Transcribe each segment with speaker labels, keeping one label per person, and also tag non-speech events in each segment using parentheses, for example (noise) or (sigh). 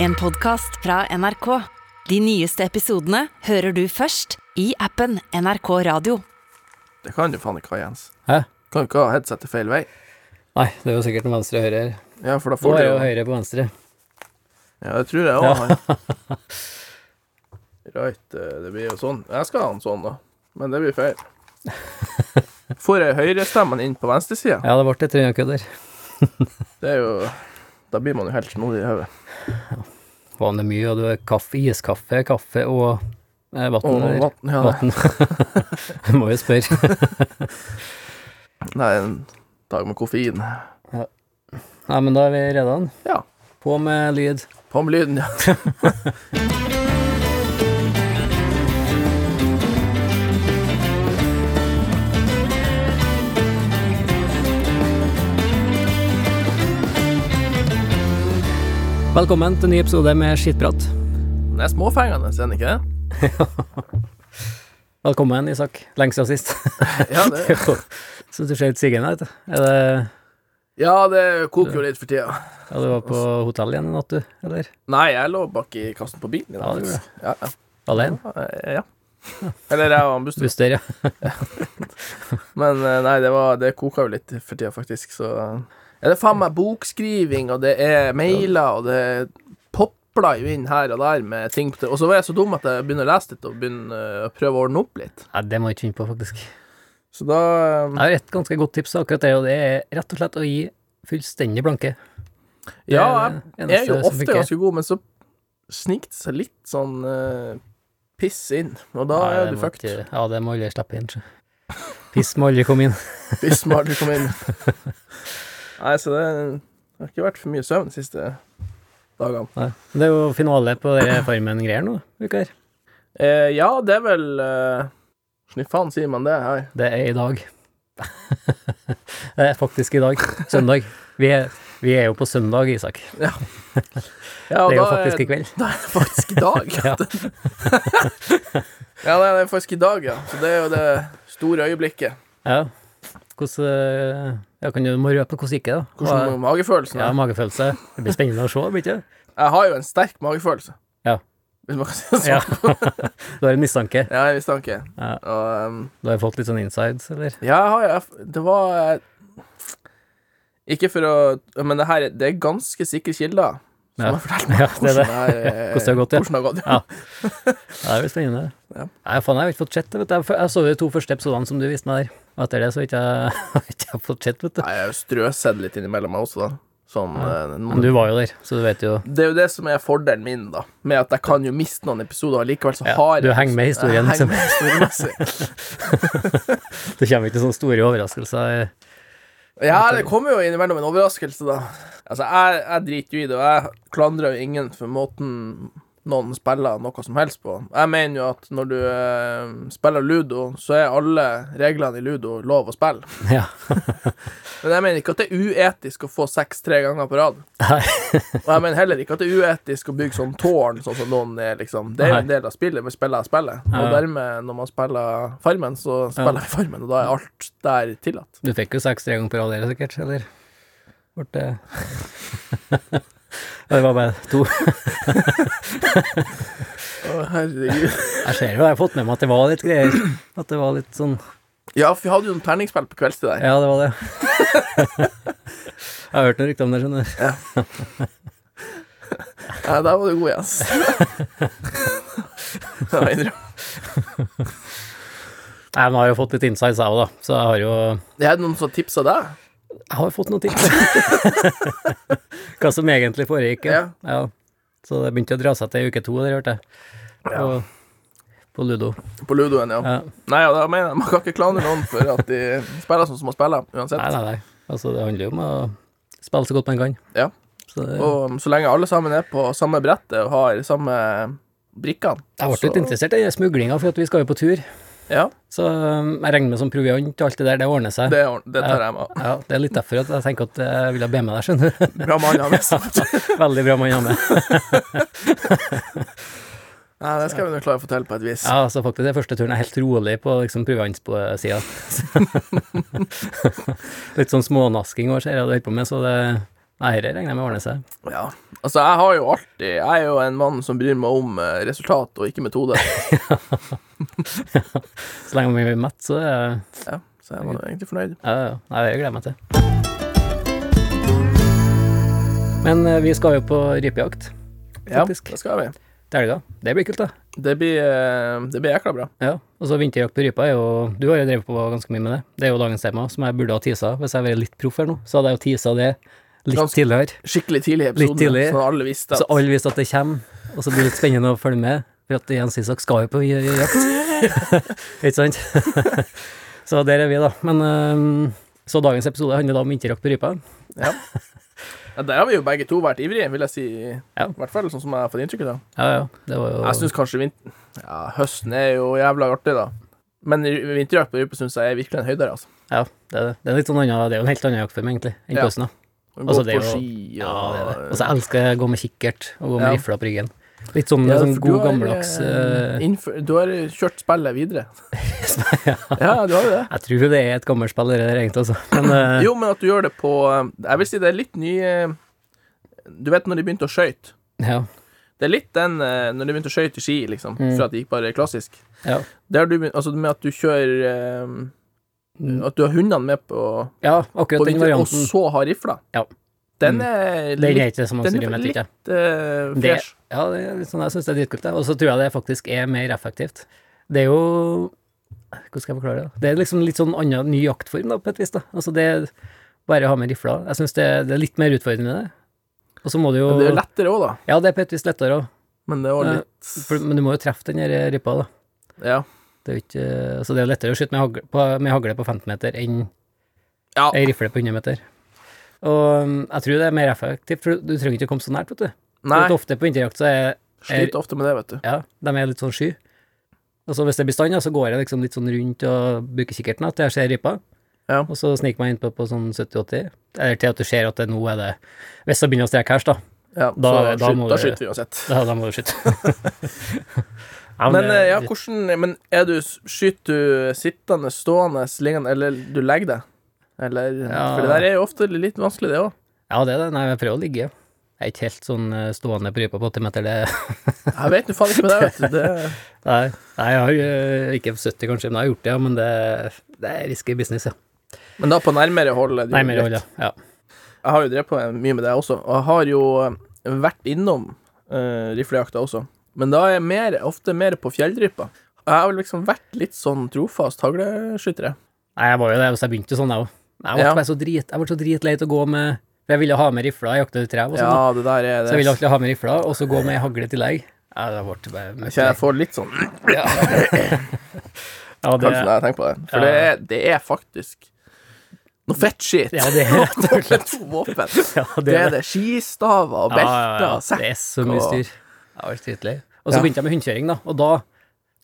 Speaker 1: En podcast fra NRK. De nyeste episodene hører du først i appen NRK Radio.
Speaker 2: Det kan du faen ikke ha, Jens.
Speaker 3: Hæ?
Speaker 2: Kan du ikke ha headsetet feil vei?
Speaker 3: Nei, det var sikkert en venstre og høyre her.
Speaker 2: Ja, for da
Speaker 3: Nå
Speaker 2: får du
Speaker 3: er det jo
Speaker 2: jo
Speaker 3: høyre på venstre.
Speaker 2: Ja, det tror jeg òg, han.
Speaker 3: (laughs)
Speaker 2: Right, eh, det blir jo sånn. Jeg skal ha den sånn, da. Men det blir feil. Får jeg høyrestemmen inn på venstresida?
Speaker 3: Ja, det ble det, tror jeg kødder.
Speaker 2: Det er jo Da blir man jo helt snodig i hodet.
Speaker 3: Vanlig mye, og du har kaffe, iskaffe, kaffe og eh, vann.
Speaker 2: Og
Speaker 3: eller?
Speaker 2: vann, ja,
Speaker 3: (laughs) Vann. Må jo spørre.
Speaker 2: Nei, en dag med koffein.
Speaker 3: (laughs) Nei, men da er vi reda den.
Speaker 2: Ja.
Speaker 3: På med lyd.
Speaker 2: På med lyden, ja.
Speaker 3: Velkommen til en ny episode med Skittprat.
Speaker 2: Den er småfengende, er den ikke det?
Speaker 3: Velkommen, Isak. Lenge siden (laughs) sist.
Speaker 2: Ja, det,
Speaker 3: (laughs) Så du ser ut sigende ut. Er det
Speaker 2: ja, det koker jo litt for tida.
Speaker 3: Ja, du var på hotell igjen i natt, du? Eller?
Speaker 2: Nei, jeg lå bak i kassen på bilen i
Speaker 3: Ja, det
Speaker 2: dag.
Speaker 3: gjorde
Speaker 2: Ja, ja.
Speaker 3: Alene?
Speaker 2: Eh, ja. (laughs) Eller jeg og han Buster.
Speaker 3: Buster, ja.
Speaker 2: Men eh, nei, det, var, det koka jo litt for tida, faktisk, så Er det faen meg bokskriving, og det er mailer, og det popler jo inn her og der med ting på det. Og så var jeg så dum at jeg begynner å lese litt, og begynner eh, å prøve å ordne opp litt.
Speaker 3: Nei, det må jeg ikke finne på, faktisk.
Speaker 2: Så da
Speaker 3: Jeg har et ganske godt tips akkurat det, og det er rett og slett å gi fullstendig blanke.
Speaker 2: eh, Ja,
Speaker 3: det er
Speaker 2: jeg
Speaker 3: det
Speaker 2: er jo
Speaker 3: eneste som
Speaker 2: ofte
Speaker 3: funker.
Speaker 2: ganske god, men så sniker det seg litt sånn eh, piss inn, og da
Speaker 3: Nei,
Speaker 2: er
Speaker 3: det
Speaker 2: du
Speaker 3: må
Speaker 2: fucked.
Speaker 3: ikke- Ja, det må aldri slippe inn. sjø. Piss må aldri komme inn.
Speaker 2: Hvis man aldri kommer inn. (laughs) Nei, så det, det har ikke vært for mye søvn de siste dagene.
Speaker 3: Nei. Det er jo finale på det Farmen-greier nå, uka her.
Speaker 2: Eh, ja, det er vel eh, Hvordan i faen sier man det her?
Speaker 3: Det er i dag. (laughs) det er faktisk i dag. Søndag. Vi er, vi er jo på søndag, Isak.
Speaker 2: Ja,
Speaker 3: Det er jo
Speaker 2: da
Speaker 3: faktisk i kveld.
Speaker 2: Da er det faktisk i dag.
Speaker 3: (laughs) Ja.
Speaker 2: (laughs) ja, nei, det er faktisk i dag, ja. Så det er jo det store øyeblikket.
Speaker 3: Ja. Hvordan eh, Ja, kan du må røpe hvordan gikk det, da?
Speaker 2: Hvordan
Speaker 3: Hva-
Speaker 2: magefølelsen
Speaker 3: ja,
Speaker 2: er.
Speaker 3: magefølelse. Det blir spennende å se, blir
Speaker 2: (laughs)
Speaker 3: det ikke?
Speaker 2: Jeg har jo en sterk magefølelse.
Speaker 3: Ja.
Speaker 2: Hvis man kan si det
Speaker 3: Ja. (laughs)
Speaker 2: sånn.
Speaker 3: Du har en mistanke.
Speaker 2: Ja, jeg har mistanke.
Speaker 3: Ja.
Speaker 2: Og um,
Speaker 3: Du har fått litt sånn insides, eller?
Speaker 2: Ja, jeg har jeg, det var eh, Ikke for å Men det her det er ganske sikre kilder som
Speaker 3: Ja.
Speaker 2: har fortalt meg
Speaker 3: Ja, det er det.
Speaker 2: her, eh,
Speaker 3: (laughs) Hvordan det har gått, ja.
Speaker 2: hvordan det har gått, ja.
Speaker 3: Ja. Ja, det blir spennende.
Speaker 2: Ja.
Speaker 3: Nei, faen, jeg har ikke fått sett det, vet du. Jeg f- Jeg så jo de to første episodene som du viste meg der. Og etter det så har ikke jeg (laughs) har ikke jeg fått sett, vet du.
Speaker 2: Nei, Jeg har jo strøsedd litt innimellom meg også, da. Sånn eh,
Speaker 3: Men
Speaker 2: noen,
Speaker 3: du var jo der, så du vet jo
Speaker 2: Det er jo det som er fordelen min, da. Med at jeg kan jo miste noen episoder, og likevel så
Speaker 3: Ja,
Speaker 2: har jeg
Speaker 3: du henger med i historien, liksom.
Speaker 2: Jeg henger med i historien
Speaker 3: (laughs)
Speaker 2: masse.
Speaker 3: Det kommer ikke sånne store overraskelser.
Speaker 2: Ja, det kommer jo innimellom en overraskelse, da. Altså, jeg, jeg driter jo i det, og jeg klandrer jo ingen for måten noen spiller noe som helst på. Jeg mener jo at når du eh, spiller ludo, så er alle reglene i ludo lov å spille.
Speaker 3: Ja.
Speaker 2: Men jeg mener ikke at det er uetisk å få seks tre ganger på rad.
Speaker 3: Nei.
Speaker 2: Og jeg mener heller ikke at det er uetisk å bygge sånn tårn, sånn som noen er, liksom. Det er jo en del av spillet, vi spiller spillet. Og
Speaker 3: Ja.
Speaker 2: dermed, når man spiller Farmen, så spiller vi Farmen, og da er alt der tillatt.
Speaker 3: Du fikk jo seks-tre ganger på rad, dere, sikkert, eller? Ble det
Speaker 2: (laughs)
Speaker 3: Ja, Det var bare to.
Speaker 2: Å, herregud.
Speaker 3: Jeg ser jo, jeg har fått med meg at det var litt greier. At det var litt sånn
Speaker 2: (laughs) Ja, for vi hadde jo en terningspill på kveldstid der.
Speaker 3: Ja, det var det. (laughs) Jeg har hørt noen rykter om det, skjønner du.
Speaker 2: Ja, der var du god, Jens. Det var innrømt.
Speaker 3: Nei, men jeg har jo fått litt insights, jeg òg, da. Så jeg har jo
Speaker 2: er det noen som tipsa deg?
Speaker 3: Jeg har fått noen tips. (laughs) Hva som egentlig foregikk. Ja. Ja. Så det begynte å dra seg til uke to, der hørte jeg. På, på Ludo.
Speaker 2: På ludoen, ja.
Speaker 3: Ja.
Speaker 2: Nei, ja, da mener jeg man kan ikke klandre noen for at de spiller sånn som man spiller, uansett.
Speaker 3: Nei, nei, nei. Altså, det handler jo om å spille så godt man kan.
Speaker 2: Ja.
Speaker 3: Så det,
Speaker 2: Og så lenge alle sammen er på samme brettet og har samme brikkene
Speaker 3: jeg ble litt
Speaker 2: så-
Speaker 3: interessert i den smuglinga, for at vi skal jo på tur.
Speaker 2: Ja,
Speaker 3: Så um, jeg regner med som proviant og alt det der, det ordner seg.
Speaker 2: det, ordn- det tar jeg meg av.
Speaker 3: Ja, det er litt derfor at jeg tenker at jeg ville be med deg, E skjønner du. (laughs)
Speaker 2: Bra mann har med seg.
Speaker 3: Veldig bra man har med.
Speaker 2: Nei, det skal vi nå klare å fortelle på et vis.
Speaker 3: Ja, altså faktisk, den første turen er helt rolig på liksom, (laughs) proviantsida. Litt sånn smånasking og ser jeg du holder på med, så det, Nei, dette regner jeg med ordner seg.
Speaker 2: Ja. Altså, jeg har jo alltid Jeg er jo en mann som bryr meg om eh, resultat og ikke metode.
Speaker 3: Så lenge vi blir mett, så er jeg
Speaker 2: Ja, så jeg var jo egentlig fornøyd.
Speaker 3: Ja, ja. Nei, det gleder jeg meg til. Men eh, vi skal jo på rypejakt
Speaker 2: Ja,
Speaker 3: Faktisk.
Speaker 2: det skal vi.
Speaker 3: til helga. Det blir kult, da.
Speaker 2: Det blir, eh, det blir jækla bra.
Speaker 3: Ja. Og så vinterjakt på rypa er jo Du har jo drevet på ganske mye med det. Det er jo dagens tema, som jeg burde ha tisa. Hvis jeg hadde vært litt proff her nå, så hadde jeg jo tisa det litt
Speaker 2: Ganske-
Speaker 3: tidligere.
Speaker 2: Skikkelig tidlig i
Speaker 3: Litt
Speaker 2: episoden,
Speaker 3: tidlig.
Speaker 2: så alle visste
Speaker 3: Så
Speaker 2: at
Speaker 3: alle visste at det kommer, og så blir det litt spennende å følge med. For at Jens Isak skal jo på j- j- jakt.
Speaker 2: (laughs)
Speaker 3: Ikke sant? (laughs) så der er vi, da. Men eh, så dagens episode handler da om vinterjakt på rypa.
Speaker 2: ja. ja, Der har vi jo begge to vært ivrige, vil jeg si.
Speaker 3: Ja.
Speaker 2: I hvert fall sånn som jeg har fått inntrykk av.
Speaker 3: Ja, ja. Det var jo
Speaker 2: Jeg syns kanskje vinter... Ja, høsten er jo jævla artig, da. Men ry- vinterjakt på rype syns jeg er virkelig en høydere, altså.
Speaker 3: Ja, det er det. Det er, litt sånn annen, det er jo en helt annen jaktform, egentlig, enn
Speaker 2: Ja.
Speaker 3: påsen. da.
Speaker 2: Å
Speaker 3: Altså,
Speaker 2: Gå
Speaker 3: det
Speaker 2: på
Speaker 3: er jo-
Speaker 2: ski og
Speaker 3: Ja, det er det. Og så elsker jeg å gå med kikkert og gå med
Speaker 2: Ja.
Speaker 3: rifla på ryggen. Litt sånn,
Speaker 2: Ja,
Speaker 3: sånn
Speaker 2: for du
Speaker 3: god,
Speaker 2: har,
Speaker 3: gammeldags
Speaker 2: eh,
Speaker 3: eh, (laughs)
Speaker 2: innfø- Du har kjørt spillet videre. (laughs)
Speaker 3: ja.
Speaker 2: Ja, du har jo det.
Speaker 3: Jeg tror jo det er et gammelt spill, det der, egentlig, altså. Men eh,
Speaker 2: Jo, men at du gjør det på eh, Jeg vil si det er litt ny eh, Du vet når de begynte å skøyte?
Speaker 3: ja.
Speaker 2: Det er litt den eh, når de begynte å skøyte i ski, liksom,
Speaker 3: Mm.
Speaker 2: for at det gikk bare klassisk.
Speaker 3: Ja.
Speaker 2: Det har du begynt Altså med at du kjører eh, At du har hundene med på,
Speaker 3: ja,
Speaker 2: på
Speaker 3: Mm. akkurat den
Speaker 2: vinter, og
Speaker 3: varianten.
Speaker 2: så har rifla.
Speaker 3: Ja.
Speaker 2: Den
Speaker 3: Mm.
Speaker 2: er
Speaker 3: Den er
Speaker 2: litt
Speaker 3: ikke så mange
Speaker 2: den er
Speaker 3: som driver med
Speaker 2: litt-
Speaker 3: det, ikke jeg.
Speaker 2: eh,
Speaker 3: Det-
Speaker 2: fresh.
Speaker 3: Ja, det er litt sånn, jeg syns det er dritkult, det. Og så tror jeg det faktisk er mer effektivt. Det er jo Hvordan skal jeg forklare det? Det er liksom litt sånn annen ny jaktform, da, på et vis. da. Altså, det er bare å ha med rifla. Jeg syns det, det er litt mer utfordrende, det. Og så må du jo
Speaker 2: Men det er jo lettere òg, da.
Speaker 3: Ja, det er på et vis lettere òg.
Speaker 2: Men det er også
Speaker 3: Ja,
Speaker 2: litt
Speaker 3: For- Men du må jo treffe den her ripa, da.
Speaker 2: Ja.
Speaker 3: Det er jo ikke, altså det er jo lettere å skyte med hagle på, med hagle på 15 meter enn
Speaker 2: ja.
Speaker 3: ei rifle på 100 meter. Og um, jeg tror det er mer effektivt, for du trenger ikke å komme så nært, vet du.
Speaker 2: Nei,
Speaker 3: For at Ofte på vinterjakt så er
Speaker 2: sliter ofte med det, vet du.
Speaker 3: ja, de er litt sånn sky. Og så hvis det blir stand, ja, så går jeg liksom litt sånn rundt og bruker kikkerten da, til jeg ser ripa.
Speaker 2: Ja.
Speaker 3: Og så sniker jeg meg innpå på sånn 70-80, eller til at du ser at det nå er det Hvis det begynner å streke her, da,
Speaker 2: Ja,
Speaker 3: Da-
Speaker 2: så
Speaker 3: da
Speaker 2: skyt-
Speaker 3: må
Speaker 2: da
Speaker 3: du-
Speaker 2: skyter vi uansett.
Speaker 3: da, da må du skyte. Ja,
Speaker 2: Men eh,
Speaker 3: det-
Speaker 2: (laughs) ja, hvordan Men er du Skyter du sittende, stående, liggende, eller du legger deg? Eller
Speaker 3: Ja.
Speaker 2: For det der er jo ofte litt vanskelig, det òg.
Speaker 3: Ja, det er det. Nei, jeg prøver å ligge. Jeg er ikke helt sånn eh, stående på rypa på 80 meter, det
Speaker 2: Jeg vet jo faen ikke med deg, vet du. Det,
Speaker 3: (laughs) Nei, nei jeg har eh, ikke 70 kanskje, men jeg har gjort det, ja. Men det, det er risky business, ja.
Speaker 2: men da på nærmere hold. er det jo
Speaker 3: Nei, mer
Speaker 2: greit.
Speaker 3: hold, ja. ja.
Speaker 2: Jeg har jo drevet på mye med det også, og jeg har jo eh, vært innom uh, riflejakta også. Men da er jeg mer, ofte mer på fjellrypa. Jeg har vel liksom vært litt sånn trofast hagleskytter. jeg.
Speaker 3: Nei, jeg var jo det, så jeg begynte sånn, jeg òg. Jeg ble
Speaker 2: Ja.
Speaker 3: bare så drit, jeg ble så dritlei til å gå med For jeg ville ha med rifla, jeg jakta trær og sånn. da.
Speaker 2: Ja, det der er
Speaker 3: Så jeg ville
Speaker 2: det.
Speaker 3: alltid ha med rifla, og så gå med ei hagle i tillegg. Ja, det ble bare møkk
Speaker 2: Ikke
Speaker 3: lei.
Speaker 2: jeg får litt sånn
Speaker 3: Ja. ja, det,
Speaker 2: Kanskje når jeg tenker på det. For
Speaker 3: Ja.
Speaker 2: det, er, det er faktisk noe fett shit. (laughs)
Speaker 3: ja, det, er rett og slett.
Speaker 2: To våpen.
Speaker 3: (laughs) Ja,
Speaker 2: Det er det. Skistaver og
Speaker 3: Ja, ja,
Speaker 2: belter
Speaker 3: ja.
Speaker 2: og sekk.
Speaker 3: Det er så mye
Speaker 2: og-
Speaker 3: styr. Jeg var dritlei. Og så
Speaker 2: Ja.
Speaker 3: begynte jeg med hundekjøring, da, og da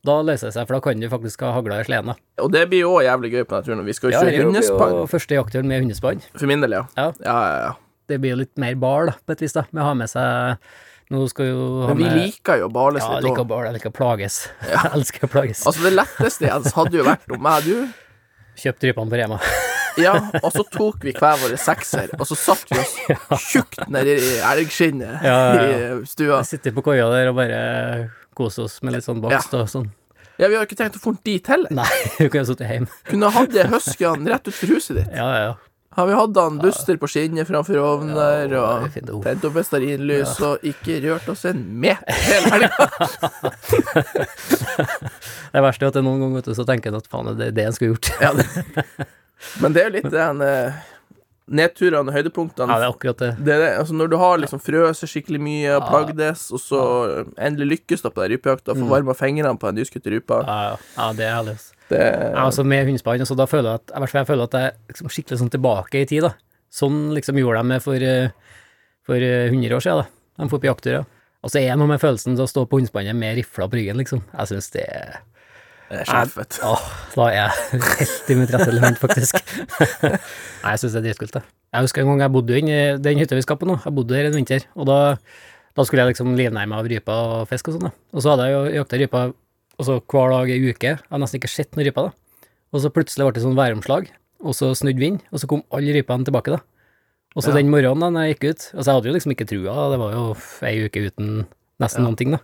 Speaker 3: da løser det seg, for da kan du faktisk ha hagla i sleden. da.
Speaker 2: Og det blir jo også jævlig gøy på naturen. Vi skal jo
Speaker 3: Ja, det
Speaker 2: kjøre
Speaker 3: er
Speaker 2: hundespann.
Speaker 3: jo første jaktturen med hundespann.
Speaker 2: For min del, ja.
Speaker 3: Ja.
Speaker 2: Ja, ja, ja.
Speaker 3: Det blir jo litt mer bar, da, på et vis, da, med å ha med seg Nå skal jo ha
Speaker 2: Men vi
Speaker 3: med
Speaker 2: liker jo å bales
Speaker 3: eh, Ja, jeg
Speaker 2: litt
Speaker 3: liker å
Speaker 2: òg.
Speaker 3: bale, jeg liker å plages. (laughs) Jeg elsker å plages.
Speaker 2: Altså, det letteste jeg hadde jo vært om jeg og du
Speaker 3: Kjøpt rypene på Rema.
Speaker 2: Ja, og så tok vi hver våre sekser, og så satt vi oss tjukt nedi elgskinnet
Speaker 3: Ja, ja,
Speaker 2: i eh, stua.
Speaker 3: Jeg (laughs) sitter på koia der og bare koser oss med litt sånn bakst og sånn. (laughs)
Speaker 2: Ja, vi har jo ikke tenkt å få den dit heller.
Speaker 3: Nei, du kan jo sitte hjemme.
Speaker 2: Kunne hatt det huskyene rett utenfor huset ditt.
Speaker 3: Ja, ja, ja.
Speaker 2: Har vi hatt han duster på skinnet framfor ovnen der,
Speaker 3: det er
Speaker 2: og
Speaker 3: fint, oh.
Speaker 2: tent opp et stearinlys, og ikke rørt oss en meter hele
Speaker 3: (laughs)
Speaker 2: helga.
Speaker 3: Det verste er at det noen ganger vet du, så tenker en at faen, det er det en skulle gjort.
Speaker 2: Ja, det- Men det er jo litt den eh, nedturene og høydepunktene.
Speaker 3: (laughs) Ja, det er akkurat det.
Speaker 2: det er det. Altså, når du har liksom frøset skikkelig mye og plagdes, og så endelig lykkes da på den rypejakta, får varma fingrene på den nyskutte rypa
Speaker 3: Mm. Ja, ja. ja det er herlig. ass.
Speaker 2: det,
Speaker 3: Ja, altså med hundespann, altså, da føler jeg at, i hvert fall jeg føler at jeg er liksom skikkelig sånn tilbake i tid, da. Sånn liksom gjorde de det for, eh, for eh, 100 år siden, da. De dro på jakttur, ja. Og så er det noe med følelsen av å stå på hundespannet med rifla på ryggen, liksom. Jeg syns det er
Speaker 2: er sjef, vet du.
Speaker 3: Åh, da er jeg helt i mitt rette element, faktisk. Nei, jeg syns det er dritkult, det. Jeg husker en gang jeg bodde inne i den hytta vi skal på nå, jeg bodde her en vinter, og da, da skulle jeg liksom livnære meg av rypa og fisk og sånn, da. Og så hadde jeg jo jakta rypa altså, hver dag i uke, jeg hadde nesten ikke sett noen ryper, da. Og så plutselig ble det sånn væromslag, og så snudde vind, og så kom alle rypene tilbake, da. Og så
Speaker 2: Ja.
Speaker 3: den morgenen da når jeg gikk ut Altså, jeg hadde jo liksom ikke trua, det var jo f- ei uke uten nesten noen ting, da.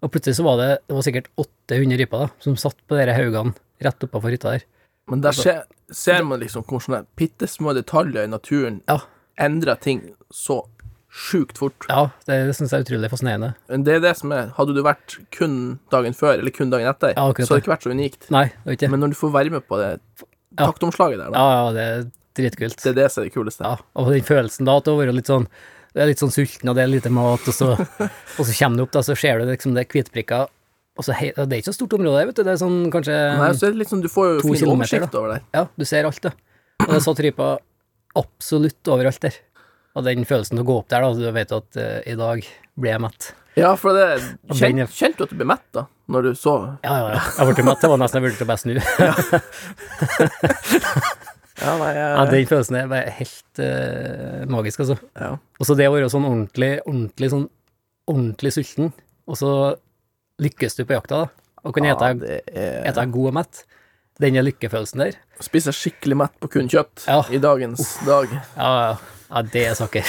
Speaker 3: Og plutselig så var det, det var sikkert 800 ryper da, som satt på de haugene rett oppafor hytta der.
Speaker 2: Men
Speaker 3: Altså,
Speaker 2: der skjer, ser man liksom hvordan sånne bitte små detaljer i naturen
Speaker 3: Ja.
Speaker 2: endrer ting så sjukt fort.
Speaker 3: Ja, det syns jeg er utrolig fascinerende.
Speaker 2: Men Det er det som er Hadde du vært kun dagen før, eller kun dagen etter,
Speaker 3: Ja, akkurat
Speaker 2: så hadde det
Speaker 3: det.
Speaker 2: ikke vært så unikt.
Speaker 3: Nei, det var ikke det.
Speaker 2: Men når du får være med på det
Speaker 3: Ja.
Speaker 2: taktomslaget der, da,
Speaker 3: Ja, ja, det er dritkult.
Speaker 2: det er det som er det kuleste.
Speaker 3: Ja, og den følelsen da, at du har vært litt sånn Du er litt sånn sulten, og det er lite mat, og så, og så kommer du opp, da, så ser du liksom det hvitprikka og så hei, Det er ikke så stort område, vet du. Det er sånn kanskje
Speaker 2: Nei, så er det litt sånn, Du får jo
Speaker 3: To
Speaker 2: fin
Speaker 3: kilometer,
Speaker 2: oversikt over det.
Speaker 3: Ja, du ser alt, da. Og det satt rypa absolutt overalt der. Og den følelsen å gå opp der, da, du vet at eh, i dag blir jeg mett.
Speaker 2: Ja, for det
Speaker 3: Og den
Speaker 2: kjen,
Speaker 3: er-
Speaker 2: Kjente du at du ble mett da, når du så
Speaker 3: Ja, ja, ja. Jeg ble mett, det var nesten jeg vurderte å bare snu.
Speaker 2: Ja, nei,
Speaker 3: Ja,
Speaker 2: jeg,
Speaker 3: den følelsen er bare helt eh, magisk, altså.
Speaker 2: ja.
Speaker 3: Og så det å være sånn ordentlig, ordentlig sånn ordentlig sulten, og så lykkes du på jakta, da. Og kan
Speaker 2: Ja,
Speaker 3: ete
Speaker 2: det er
Speaker 3: ete god og mett. Den lykkefølelsen der,
Speaker 2: Spiser skikkelig mett på kun kjøtt
Speaker 3: Ja.
Speaker 2: i dagens dag.
Speaker 3: ja, ja, ja, det er saker.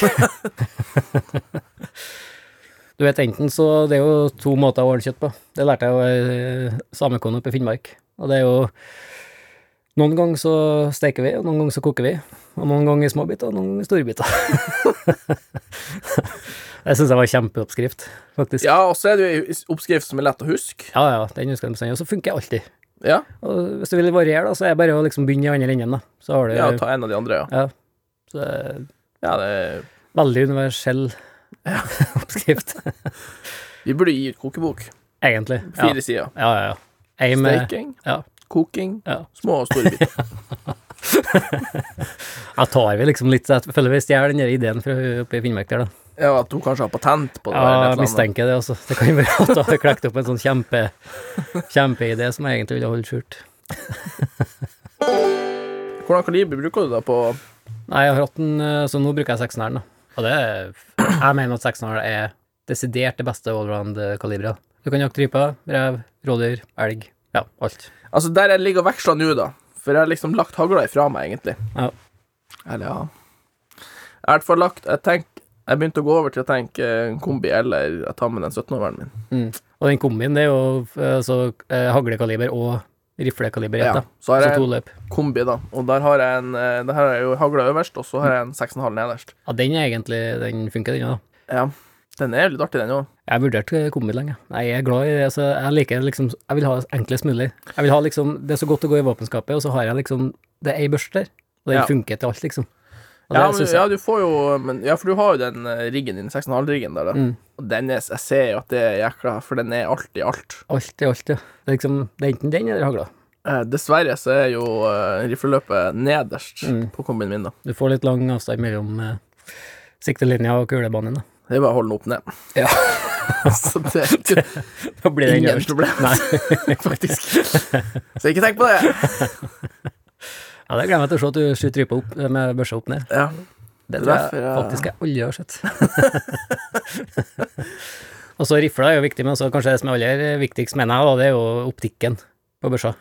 Speaker 3: du vet, enten så Det er jo to måter å ordne kjøtt på. Det lærte jeg jo eh, samekone oppe i Finnmark. Og det er jo Noen ganger så steker vi, og noen ganger så koker vi. Og noen ganger i små biter, og noen ganger i store biter. (laughs) jeg syns jeg var kjempeoppskrift, faktisk.
Speaker 2: Ja, og så er det jo ei oppskrift som er lett å huske.
Speaker 3: Ja, ja, den husker jeg bestandig, og så funker jeg alltid.
Speaker 2: Ja,
Speaker 3: Og hvis du vil variere, da, så er det bare å liksom begynne i andre enden, da. Så har du
Speaker 2: ja ta en av de andre, ja.
Speaker 3: så eh, det er
Speaker 2: ja det,
Speaker 3: Veldig universell (laughs) oppskrift,
Speaker 2: vi burde gi ut kokebok.
Speaker 3: egentlig. Ja,
Speaker 2: Fire sider.
Speaker 3: ja, ja. ja. Ei med
Speaker 2: Steking,
Speaker 3: ja.
Speaker 2: koking,
Speaker 3: Ja.
Speaker 2: små og store
Speaker 3: (laughs)
Speaker 2: biter.
Speaker 3: Jeg tar vi liksom litt Jeg føler vi stjeler den der ideen fra hun oppe i Finnmark der, da.
Speaker 2: Ja, At hun kanskje har patent på det. eller et
Speaker 3: Ja,
Speaker 2: eller
Speaker 3: jeg
Speaker 2: annet.
Speaker 3: mistenker det, altså. Det kan jo være at hun har klekt opp en sånn kjempe kjempeidé som jeg egentlig ville holdt skjult.
Speaker 2: Hvordan kaliber bruker du da på
Speaker 3: Nei, jeg har hatt den, eh, så nå bruker jeg 6-eren, da. Og det er Jeg mener at 6-eren er desidert det beste allround-kaliberet. Du kan jakte rype, rev, rådyr, elg. Ja, alt.
Speaker 2: Altså, der jeg ligger og veksler nå, da. For jeg har liksom lagt hagla ifra meg, egentlig.
Speaker 3: Ja.
Speaker 2: Eller, ja Jeg har i hvert fall lagt Jeg tenk- jeg begynte å gå over til å tenke eh, kombi eller jeg tar med den 17-åringen min.
Speaker 3: Og den kombinen, det er jo eh, så eh, haglekaliber og riflekaliber i ett,
Speaker 2: Ja.
Speaker 3: da.
Speaker 2: Så har
Speaker 3: Så Altså to
Speaker 2: jeg
Speaker 3: løp.
Speaker 2: kombi, da. Og der har jeg en eh, Der har jeg jo hagla øverst, og så har jeg en 6,5 nederst.
Speaker 3: Ja, den er egentlig Den funker, den, ja, da.
Speaker 2: Ja. Den er jo litt artig, den òg.
Speaker 3: Jeg vurderte kombi lenge. Nei, jeg er glad i det. Altså, jeg liker liksom Jeg vil ha enklest mulig. Jeg vil ha liksom Det er så godt å gå i våpenskapet, og så har jeg liksom Det er ei børste der, og den
Speaker 2: Ja.
Speaker 3: funker til alt, liksom. Og
Speaker 2: Ja,
Speaker 3: det
Speaker 2: men,
Speaker 3: synes
Speaker 2: ja,
Speaker 3: jeg
Speaker 2: du får jo men, Ja, for du har jo den eh, riggen din, 6,5-riggen der, da.
Speaker 3: Mm.
Speaker 2: Og den er Jeg ser jo at det er jækla For den er alt i alt.
Speaker 3: Alt i alt, ja. Det er liksom Det er enten den eller hagla.
Speaker 2: Eh, dessverre så er jo eh, rifleløpet nederst
Speaker 3: Mm.
Speaker 2: på kombinen min, da.
Speaker 3: Du får litt lang avstand mellom eh, siktelinja og kulebanen, da.
Speaker 2: Det er bare å holde den opp ned. (laughs) så det er ikke
Speaker 3: (laughs) Da blir den
Speaker 2: ingen
Speaker 3: øverst.
Speaker 2: problem,
Speaker 3: Nei.
Speaker 2: (laughs) faktisk. Så ikke tenk på det.
Speaker 3: Ja, det gleder jeg meg til å se at du skyter rypa opp eh, med børsa opp ned.
Speaker 2: Ja.
Speaker 3: Det
Speaker 2: Det
Speaker 3: tror
Speaker 2: derfor
Speaker 3: jeg
Speaker 2: jeg-
Speaker 3: faktisk jeg aldri har sett. (laughs) og så rifla er jo viktig, men også kanskje det som er aller viktigst, mener jeg, da, det er jo optikken på børsa.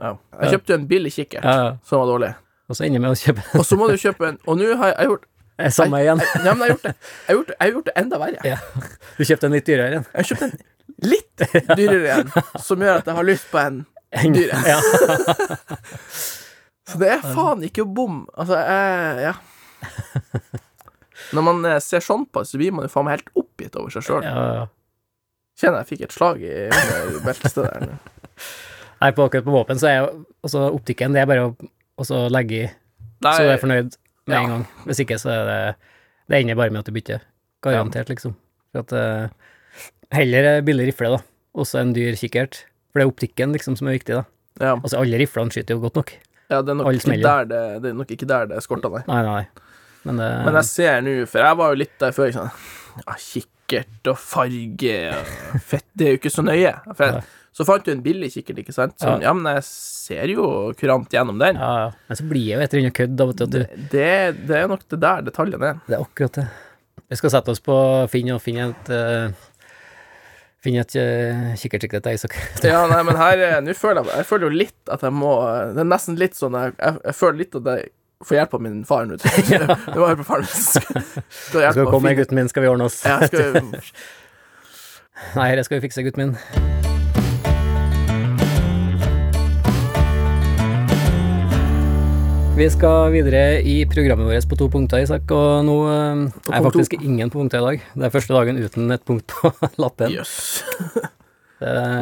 Speaker 2: Ja. Jeg kjøpte jo en billig kikkert
Speaker 3: Ja, ja.
Speaker 2: som var dårlig.
Speaker 3: Og så ender jeg med å kjøpe (laughs)
Speaker 2: Og så må du kjøpe en Og nå har jeg, jeg gjort
Speaker 3: det samme igjen.
Speaker 2: jeg, ja, men jeg har gjort det Jeg har gjort, det- jeg har gjort det enda verre.
Speaker 3: Ja. Du kjøpte en litt dyrere en.
Speaker 2: Jeg har kjøpt en litt
Speaker 3: (laughs)
Speaker 2: dyrere en, som gjør at jeg har lyst på en Dyrere.
Speaker 3: Ja. (laughs)
Speaker 2: Så det er faen ikke bom. Altså, jeg Ja. Når man eh, ser sånn på det, så blir man jo faen meg helt oppgitt over seg sjøl.
Speaker 3: Ja, ja.
Speaker 2: Kjenner jeg fikk et slag i under beltestedet. her.
Speaker 3: Nei, på akkurat på våpen så er jo altså, optikken det er bare å og så legge i, så du er fornøyd med
Speaker 2: Ja.
Speaker 3: en gang. Hvis ikke så er det Det ender bare med at du bytter. Garantert, liksom. For at eh, Heller ei billig rifle, da. Også en dyr kikkert. For det er optikken liksom som er viktig, da.
Speaker 2: Ja.
Speaker 3: Altså, alle riflene skyter jo godt nok.
Speaker 2: Ja, det er nok,
Speaker 3: Alle
Speaker 2: ikke der
Speaker 3: smeller.
Speaker 2: det, det, er nok ikke der det skorta, nei.
Speaker 3: Nei, nei, nei. Men, eh, det,
Speaker 2: Men jeg ser nå, for jeg var jo litt der før, ikke sant. Ja, kikkert og farge og fett, det er jo ikke så nøye. For jeg, så fant du en billig kikkert, ikke sant. Sånn, ja, men jeg ser jo kurant gjennom den.
Speaker 3: ja, ja. men så blir jeg jo et eller annet kødd av at du
Speaker 2: Det, det, det er nok det der detaljen er.
Speaker 3: Det er akkurat det. Vi skal sette oss på Finn og finne et uh, Finne et uh, kikkertsikte til Isak.
Speaker 2: (laughs) Ja, nei, men her eh, Nå føler jeg Jeg føler jo litt at jeg må eh, Det er nesten litt sånn Jeg, jeg, jeg føler litt at jeg får hjelp av min far nå. tror (laughs) jeg. Det var jo på faren min. (laughs) Skal
Speaker 3: Skal
Speaker 2: hjelpe
Speaker 3: du
Speaker 2: å
Speaker 3: komme,
Speaker 2: finne-
Speaker 3: gutten min, skal vi ordne oss.
Speaker 2: Ja, skal (laughs)
Speaker 3: Nei, det skal vi fikse, gutten min. Vi skal videre i programmet vårt på to punkter, Isak, og nå eh, er
Speaker 2: punkt
Speaker 3: faktisk ingen på punkter i dag. Det er første dagen uten et punkt på (laughs) lappen.
Speaker 2: Jøss.
Speaker 3: Det-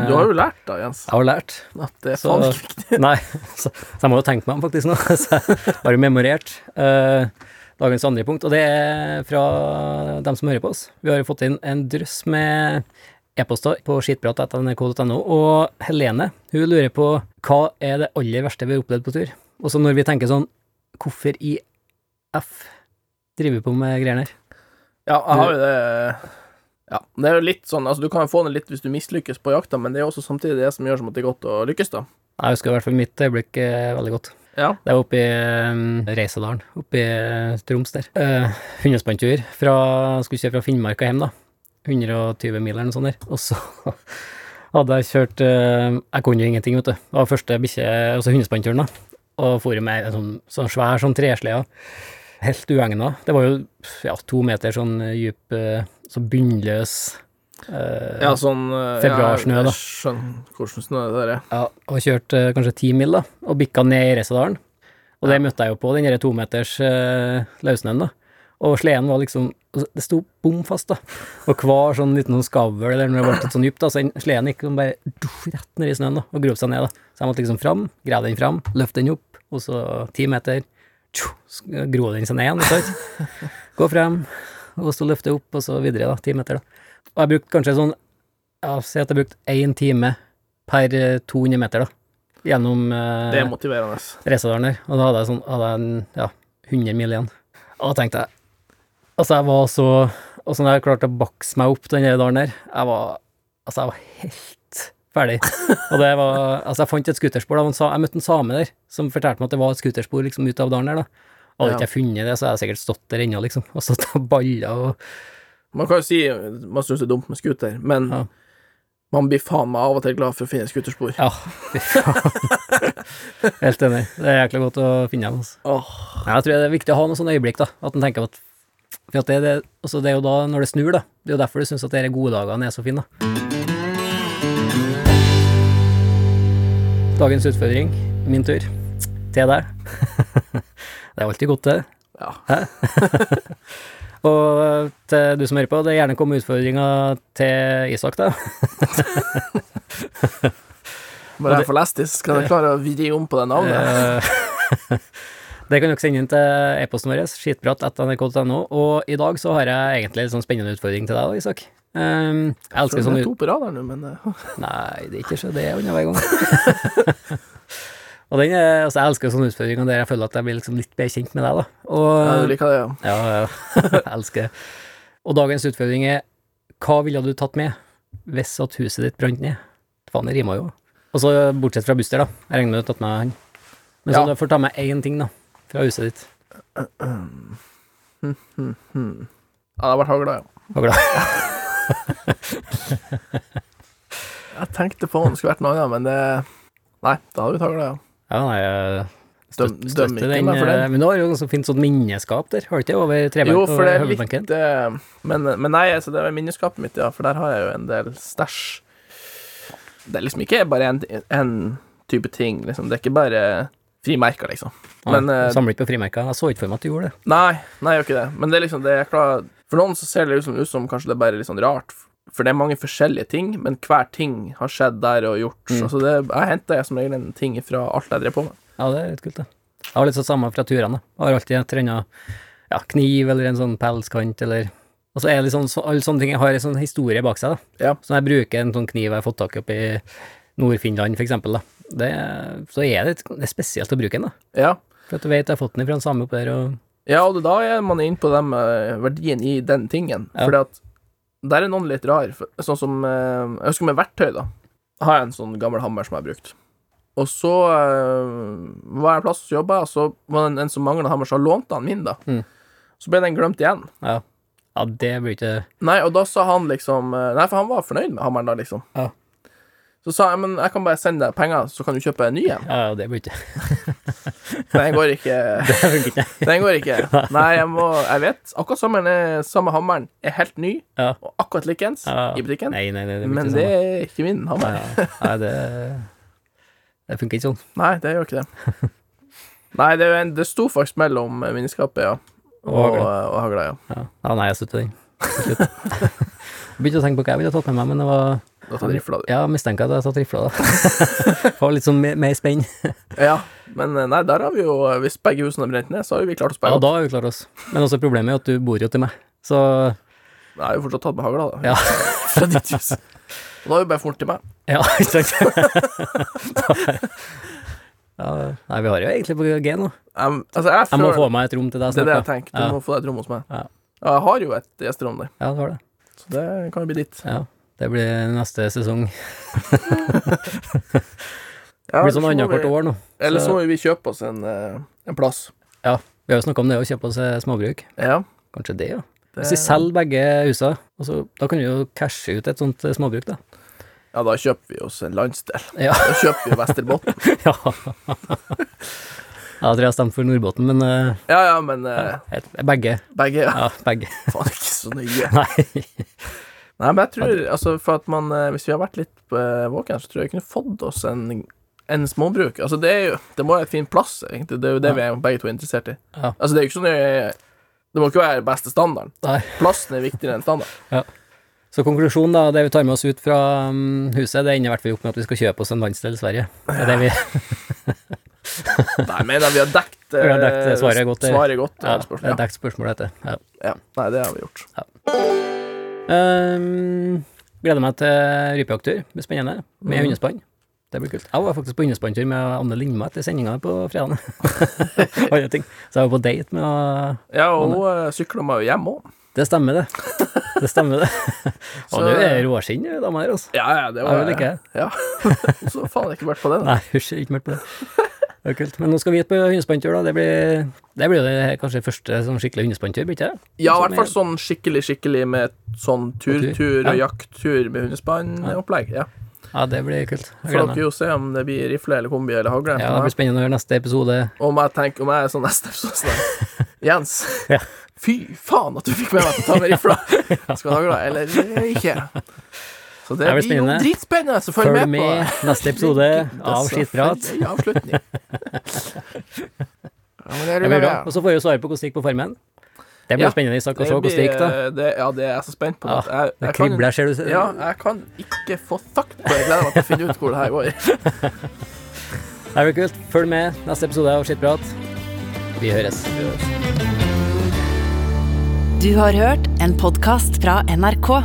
Speaker 2: Du har jo lært da, Jens,
Speaker 3: Jeg har lært.
Speaker 2: at det er
Speaker 3: Så-
Speaker 2: faen ikke viktig.
Speaker 3: (laughs) Nei, så, så jeg må jo tenke meg om faktisk nå. (laughs) Så jeg har jo memorert eh, dagens andre punkt, og det er fra dem som hører på oss. Vi har jo fått inn en drøss med e-poster på skitprat.nrk.no, og Helene hun lurer på hva er det aller verste vi har opplevd på tur? Og så når vi tenker sånn, hvorfor i F driver vi på med greiene her?
Speaker 2: Ja, jeg har jo det Ja, det er jo litt sånn Altså, du kan jo få det litt hvis du mislykkes på jakta, men det er jo også samtidig det som gjør som at det er godt å lykkes, da.
Speaker 3: Jeg husker i hvert fall mitt øyeblikk eh, veldig godt.
Speaker 2: Ja.
Speaker 3: Det var oppe i um, Reisadalen, oppe i eh, Troms der. Uh, Hundespanntur. fra- Skulle kjøre fra Finnmark og hjem, da. 120 mil eller noe sånt der. Og så (laughs) hadde jeg kjørt eh, Jeg kunne jo ingenting, vet du. Det var første bikkje, altså hundespannturen, da. Og for med en sånn, sånn svær sånn treslede. Helt uegna. Det var jo ja, to meter sånn eh, dyp, eh, så bunnløs eh,
Speaker 2: Ja, sånn eh,
Speaker 3: Februarsnø,
Speaker 2: ja,
Speaker 3: da.
Speaker 2: jeg Skjønner hvordan snø det der er.
Speaker 3: Ja, og kjørt eh, kanskje ti mil, da, og bikka ned i Reisadalen. Og det møtte jeg jo på, den derre tometers uh, løssnøen, da. Og sleden var liksom altså, Det sto bom fast, da. Og hver sånn liten sånn skavl, eller når det ble litt sånn dypt, da, så den sleden gikk sånn bare duff, rett ned i snøen, da, og grov seg ned, da. Så jeg måtte liksom fram, greie den fram, løfte den opp, og så ti meter, tjo, sk- gro den seg ned igjen, ikke sant. Gå frem, og så løfte opp, og så videre, da. Ti meter, da. Og jeg brukte kanskje sånn Ja, si at jeg brukte én time per eh, 200 meter, da. Gjennom
Speaker 2: Det
Speaker 3: eh,
Speaker 2: er motiverende.
Speaker 3: Reisadalen der. Og da hadde jeg sånn hadde jeg en, ja, 100 mil igjen. Og da tenkte jeg Altså, jeg var så Og så når jeg klarte å bakse meg opp den der dalen der, jeg var Altså, jeg var helt ferdig. Og det var Altså, jeg fant et scooterspor. da, og en sa- Jeg møtte en same der som fortalte meg at det var et scooterspor liksom ut av dalen der, da. Hadde
Speaker 2: Ja.
Speaker 3: ikke jeg funnet det, så hadde jeg sikkert stått der ennå, liksom. Og stått og balla og
Speaker 2: Man kan jo si man syns det er dumt med scooter, men
Speaker 3: Ja.
Speaker 2: man blir faen meg av og til glad for å finne scooterspor.
Speaker 3: Ja, (laughs) fy faen. Helt enig. Det er jækla godt å finne dem, altså.
Speaker 2: Åh,
Speaker 3: Ja, jeg tror det er viktig å ha noen sånne øyeblikk, da. At en tenker at for at det, er det, altså det er jo da, når det snur, da. Det er jo derfor du syns at dere gode dagene er så fine, da. Dagens utfordring, min tur, til deg. det er alltid godt, det.
Speaker 2: Ja.
Speaker 3: Hæ? (laughs) Og til du som hører på, det er gjerne kom med utfordringer til Isak, da.
Speaker 2: Bare jeg får lest det, så kan jeg klare å vri om på det navnet.
Speaker 3: Eh, (laughs) Det kan dere sende inn til e-posten vår, skitprat.nrk.no. Og i dag så har jeg egentlig en sånn spennende utfordring til deg, da, Isak. Um, jeg
Speaker 2: Det
Speaker 3: elsker sånn
Speaker 2: er
Speaker 3: ut...
Speaker 2: to på radaren nå, men eh,
Speaker 3: Nei, det er ikke så det er under hver gang. (laughs) og den er, altså, jeg elsker sånne utfordringer der jeg føler at jeg blir liksom litt bedre kjent med deg, da. Og,
Speaker 2: ja, du liker det, ja.
Speaker 3: ja, ja.
Speaker 2: (laughs)
Speaker 3: Jeg elsker det. Og dagens utfordring er hva ville du tatt med hvis at huset ditt brant ned? Faen, det rimer jo. Og så bortsett fra Buster, da. Jeg regner med du har tatt med han. Men
Speaker 2: Ja.
Speaker 3: så du får ta med én ting, da, fra huset ditt.
Speaker 2: Ja, det har vært hagla, ja.
Speaker 3: Hagla.
Speaker 2: Jeg tenkte på om det skulle vært noe annet, men det Nei, da hadde vi hagla, ja.
Speaker 3: Ja, nei, jeg
Speaker 2: Døm,
Speaker 3: støt-
Speaker 2: døm
Speaker 3: støtter
Speaker 2: ikke
Speaker 3: den.
Speaker 2: meg for
Speaker 3: eh,
Speaker 2: det.
Speaker 3: Men du har jo så fint sånt minneskap der, har du ikke? det, Over trebenken
Speaker 2: Jo, for det
Speaker 3: over
Speaker 2: er
Speaker 3: høvebenken.
Speaker 2: litt eh, Men, men nei, altså, det er minneskapet mitt, ja, for der har jeg jo en del stæsj. Det er liksom ikke bare én type ting, liksom. Det er ikke bare frimerker, liksom.
Speaker 3: Nei,
Speaker 2: Men eh,
Speaker 3: du Samler ikke på frimerker. Jeg så ikke for meg at du gjorde det.
Speaker 2: Nei, nei, jeg gjør ikke det. Men det er liksom det jeg klarer For noen så ser det liksom ut som kanskje det er bare litt sånn rart, for det er mange forskjellige ting, men hver ting har skjedd der og gjort.
Speaker 3: Mm.
Speaker 2: Altså det, jeg henter som regel en ting fra alt jeg drev på med.
Speaker 3: Ja, det er litt kult, det. Jeg har litt sånn samme fra turene. da. Jeg har alltid et eller annet ja, kniv eller en sånn pelskant eller Og så er det litt sånn, så, alle sånne ting jeg har en sånn historie bak seg, da.
Speaker 2: Ja.
Speaker 3: Så når jeg bruker en sånn kniv jeg har fått tak i oppe i Nord-Finland, for eksempel, da, det, så er det, det er spesielt å bruke den, da.
Speaker 2: Ja,
Speaker 3: For at du vet jeg har fått den fra en same oppe der, og
Speaker 2: ja og da er man inne på den eh, verdien i den tingen,
Speaker 3: Ja.
Speaker 2: fordi at der er noen litt rar. for- Sånn som eh, Jeg husker med verktøy, da. Har jeg en sånn gammel hammer som jeg har brukt. Og så eh, var jeg en plass og jobba, og så var det en, en som mangla hammer, så lånte han min, da.
Speaker 3: Mm.
Speaker 2: Så ble den glemt igjen.
Speaker 3: ja. Ja, det blir ikke
Speaker 2: Nei, og da sa han liksom Nei, for han var fornøyd med hammeren da, liksom.
Speaker 3: Ja.
Speaker 2: Så sa jeg, men jeg kan bare sende deg penger, så kan du kjøpe en ny en.
Speaker 3: Ja, det blir ikke
Speaker 2: Den går ikke.
Speaker 3: (laughs) Det funker ikke.
Speaker 2: Den går
Speaker 3: (laughs)
Speaker 2: ikke. Nei, jeg må Jeg vet. Akkurat sommeren er, samme hammeren er helt ny,
Speaker 3: Ja.
Speaker 2: og akkurat likeens
Speaker 3: Ja.
Speaker 2: i butikken.
Speaker 3: Nei, nei, nei, det blir
Speaker 2: Men
Speaker 3: ikke
Speaker 2: det
Speaker 3: sånn.
Speaker 2: er ikke min
Speaker 3: Nei,
Speaker 2: hammer.
Speaker 3: ja. nei det, det funker ikke sånn.
Speaker 2: Nei, det gjør ikke det.
Speaker 3: (laughs)
Speaker 2: Nei, det, er jo en, det sto faktisk mellom vinskapet, ja. Og,
Speaker 3: hagla.
Speaker 2: og hagla, ja.
Speaker 3: Ja, ja nei, jeg slutter den. Til slutt.
Speaker 2: (laughs)
Speaker 3: Jeg begynte å tenke på hva jeg ville tatt med meg, men det var
Speaker 2: Da tar rifla di.
Speaker 3: Ja, mistenker at jeg hadde tatt rifla, da. (laughs) Få litt sånn mer, mer spenn.
Speaker 2: Ja. Men eh, nei, der har vi jo Hvis begge husene har brent ned, så har jo vi klart å
Speaker 3: Ja,
Speaker 2: spare opp.
Speaker 3: da har vi klart oss. Men også problemet er jo at du bor jo til meg, så
Speaker 2: Jeg har jo fortsatt tatt med hagla, da.
Speaker 3: Ja.
Speaker 2: (laughs) Fra ditt hus. Og da har vi bare fort til meg.
Speaker 3: Ja, (laughs) ikke sant? ja, nei, vi har jo egentlig på G nå.
Speaker 2: Jeg, altså, jeg
Speaker 3: Jeg må
Speaker 2: føler
Speaker 3: få meg et rom til deg
Speaker 2: Det er det jeg
Speaker 3: snart. da.
Speaker 2: tenker. Du
Speaker 3: Ja.
Speaker 2: må få deg et rom hos meg.
Speaker 3: Ja.
Speaker 2: Og Jeg har jo et gjesterom der,
Speaker 3: Ja, du har det.
Speaker 2: så det kan jo bli ditt.
Speaker 3: Ja. Det blir neste sesong.
Speaker 2: Ja,
Speaker 3: Det blir
Speaker 2: ellers
Speaker 3: sånn
Speaker 2: må
Speaker 3: annethvert
Speaker 2: vi-
Speaker 3: år nå.
Speaker 2: Eller så
Speaker 3: så-
Speaker 2: må vi kjøpe oss en, eh, en plass.
Speaker 3: Vi har jo snakka om det å kjøpe oss eh, småbruk.
Speaker 2: Ja.
Speaker 3: Kanskje det, ja.
Speaker 2: Det,
Speaker 3: Hvis vi selger begge husene, og så, da kan vi jo cashe ut et sånt eh,
Speaker 2: (laughs)
Speaker 3: småbruk, da.
Speaker 2: ja, da kjøper vi oss en landsdel.
Speaker 3: Ja.
Speaker 2: Da kjøper vi
Speaker 3: (laughs)
Speaker 2: Vesterbotn.
Speaker 3: ja. Jeg tror jeg stemte for Nordbotten, men eh,
Speaker 2: Ja, ja, men eh,
Speaker 3: jeg- begge.
Speaker 2: begge ja.
Speaker 3: Ja, begge.
Speaker 2: Faen, ikke så nøye.
Speaker 3: (laughs) Nei.
Speaker 2: Nei, men jeg tror altså, for at man, eh, Hvis vi har vært litt eh, våken, så tror jeg vi kunne fått oss en, en småbruk. Altså, det er jo Det må være et fint plass, egentlig. Det er jo det vi er begge to interessert i.
Speaker 3: Ja.
Speaker 2: Altså, det er jo ikke sånn eh, Det må ikke være beste standarden.
Speaker 3: Nei.
Speaker 2: Plassen er viktigere enn standarden.
Speaker 3: Så konklusjonen, da, det vi tar med oss ut fra mm, huset, det ender i hvert fall opp med at vi skal kjøpe oss en landsdel i Sverige. Det er det vi,
Speaker 2: Nei, men da, vi har dekt, eh,
Speaker 3: (laughs) Vi har dekt, eh, svaret godt, eh.
Speaker 2: Svaret godt
Speaker 3: ja,
Speaker 2: ja,
Speaker 3: det er dekt spørsmålet etter. Ja.
Speaker 2: ja. Nei, det har vi gjort.
Speaker 3: Ehm, gleder meg til rypejakttur. Det blir spennende. Med
Speaker 2: Mm.
Speaker 3: hundespann. Det blir kult. Jeg var faktisk på hundespanntur med Anne Lindme etter sendinga på
Speaker 2: (laughs)
Speaker 3: fredag. Andre ting. Så jeg var på date med å-
Speaker 2: Ja, og hun eh, sykla meg jo hjem òg.
Speaker 3: Det stemmer, det. Det stemmer, det.
Speaker 2: (laughs)
Speaker 3: Og
Speaker 2: Så-
Speaker 3: du er råskinn, du, dama her, altså.
Speaker 2: Ja, ja, det
Speaker 3: Jeg
Speaker 2: var
Speaker 3: vil ikke det.
Speaker 2: Ja. Så faen, jeg har ikke vært på det. Da.
Speaker 3: (laughs) Nei, hysj, ikke meld på det. Det er kult. Men nå skal vi ut på hundespanntur, da. Det blir, det blir jo det kanskje første sånn skikkelig hundespanntur, blir ikke det?
Speaker 2: Ja, i
Speaker 3: Som
Speaker 2: hvert fall
Speaker 3: er-
Speaker 2: sånn skikkelig, skikkelig med sånn
Speaker 3: tur.
Speaker 2: turtur og
Speaker 3: Ja.
Speaker 2: jakttur med hundespann-opplegg. Ja.
Speaker 3: Ja, det blir kult. Jeg
Speaker 2: Får
Speaker 3: gleder meg.
Speaker 2: dere jo se om det blir rifle eller kombi eller hagle.
Speaker 3: Ja, det blir spennende å høre neste episode.
Speaker 2: Om jeg tenker om jeg er sånn neste episode sånn Jens,
Speaker 3: (laughs) Ja.
Speaker 2: fy faen at du fikk med meg til å ta med rifla!
Speaker 3: (laughs)
Speaker 2: Skal du ha glad, eller ikke? Så det
Speaker 3: Det blir
Speaker 2: blir jo
Speaker 3: spennende.
Speaker 2: dritspennende, så følg
Speaker 3: Følg
Speaker 2: med på altså. det.
Speaker 3: med (laughs) neste
Speaker 2: (laughs)
Speaker 3: episode av
Speaker 2: Disse- (laughs)
Speaker 3: Skittprat.
Speaker 2: for en Avslutning. Ja, men det er
Speaker 3: Det
Speaker 2: det
Speaker 3: blir
Speaker 2: bra.
Speaker 3: bra. Og så får vi jo svare på hvordan det gikk på Farmen. Det blir
Speaker 2: Ja.
Speaker 3: jo spennende i sak å
Speaker 2: Det
Speaker 3: se hvordan det gikk, da.
Speaker 2: blir- eh, det- Ja, det er jeg så spent på.
Speaker 3: Ja,
Speaker 2: at jeg,
Speaker 3: Det
Speaker 2: jeg kan-
Speaker 3: kribler, ser du.
Speaker 2: Ja, jeg kan ikke få sagt det. Jeg gleder meg til å finne ut hvor det her
Speaker 3: (laughs)
Speaker 2: går.
Speaker 3: Det blir kult. Følg med neste episode av Skittprat. Vi høres.
Speaker 1: Du har hørt en podkast fra NRK.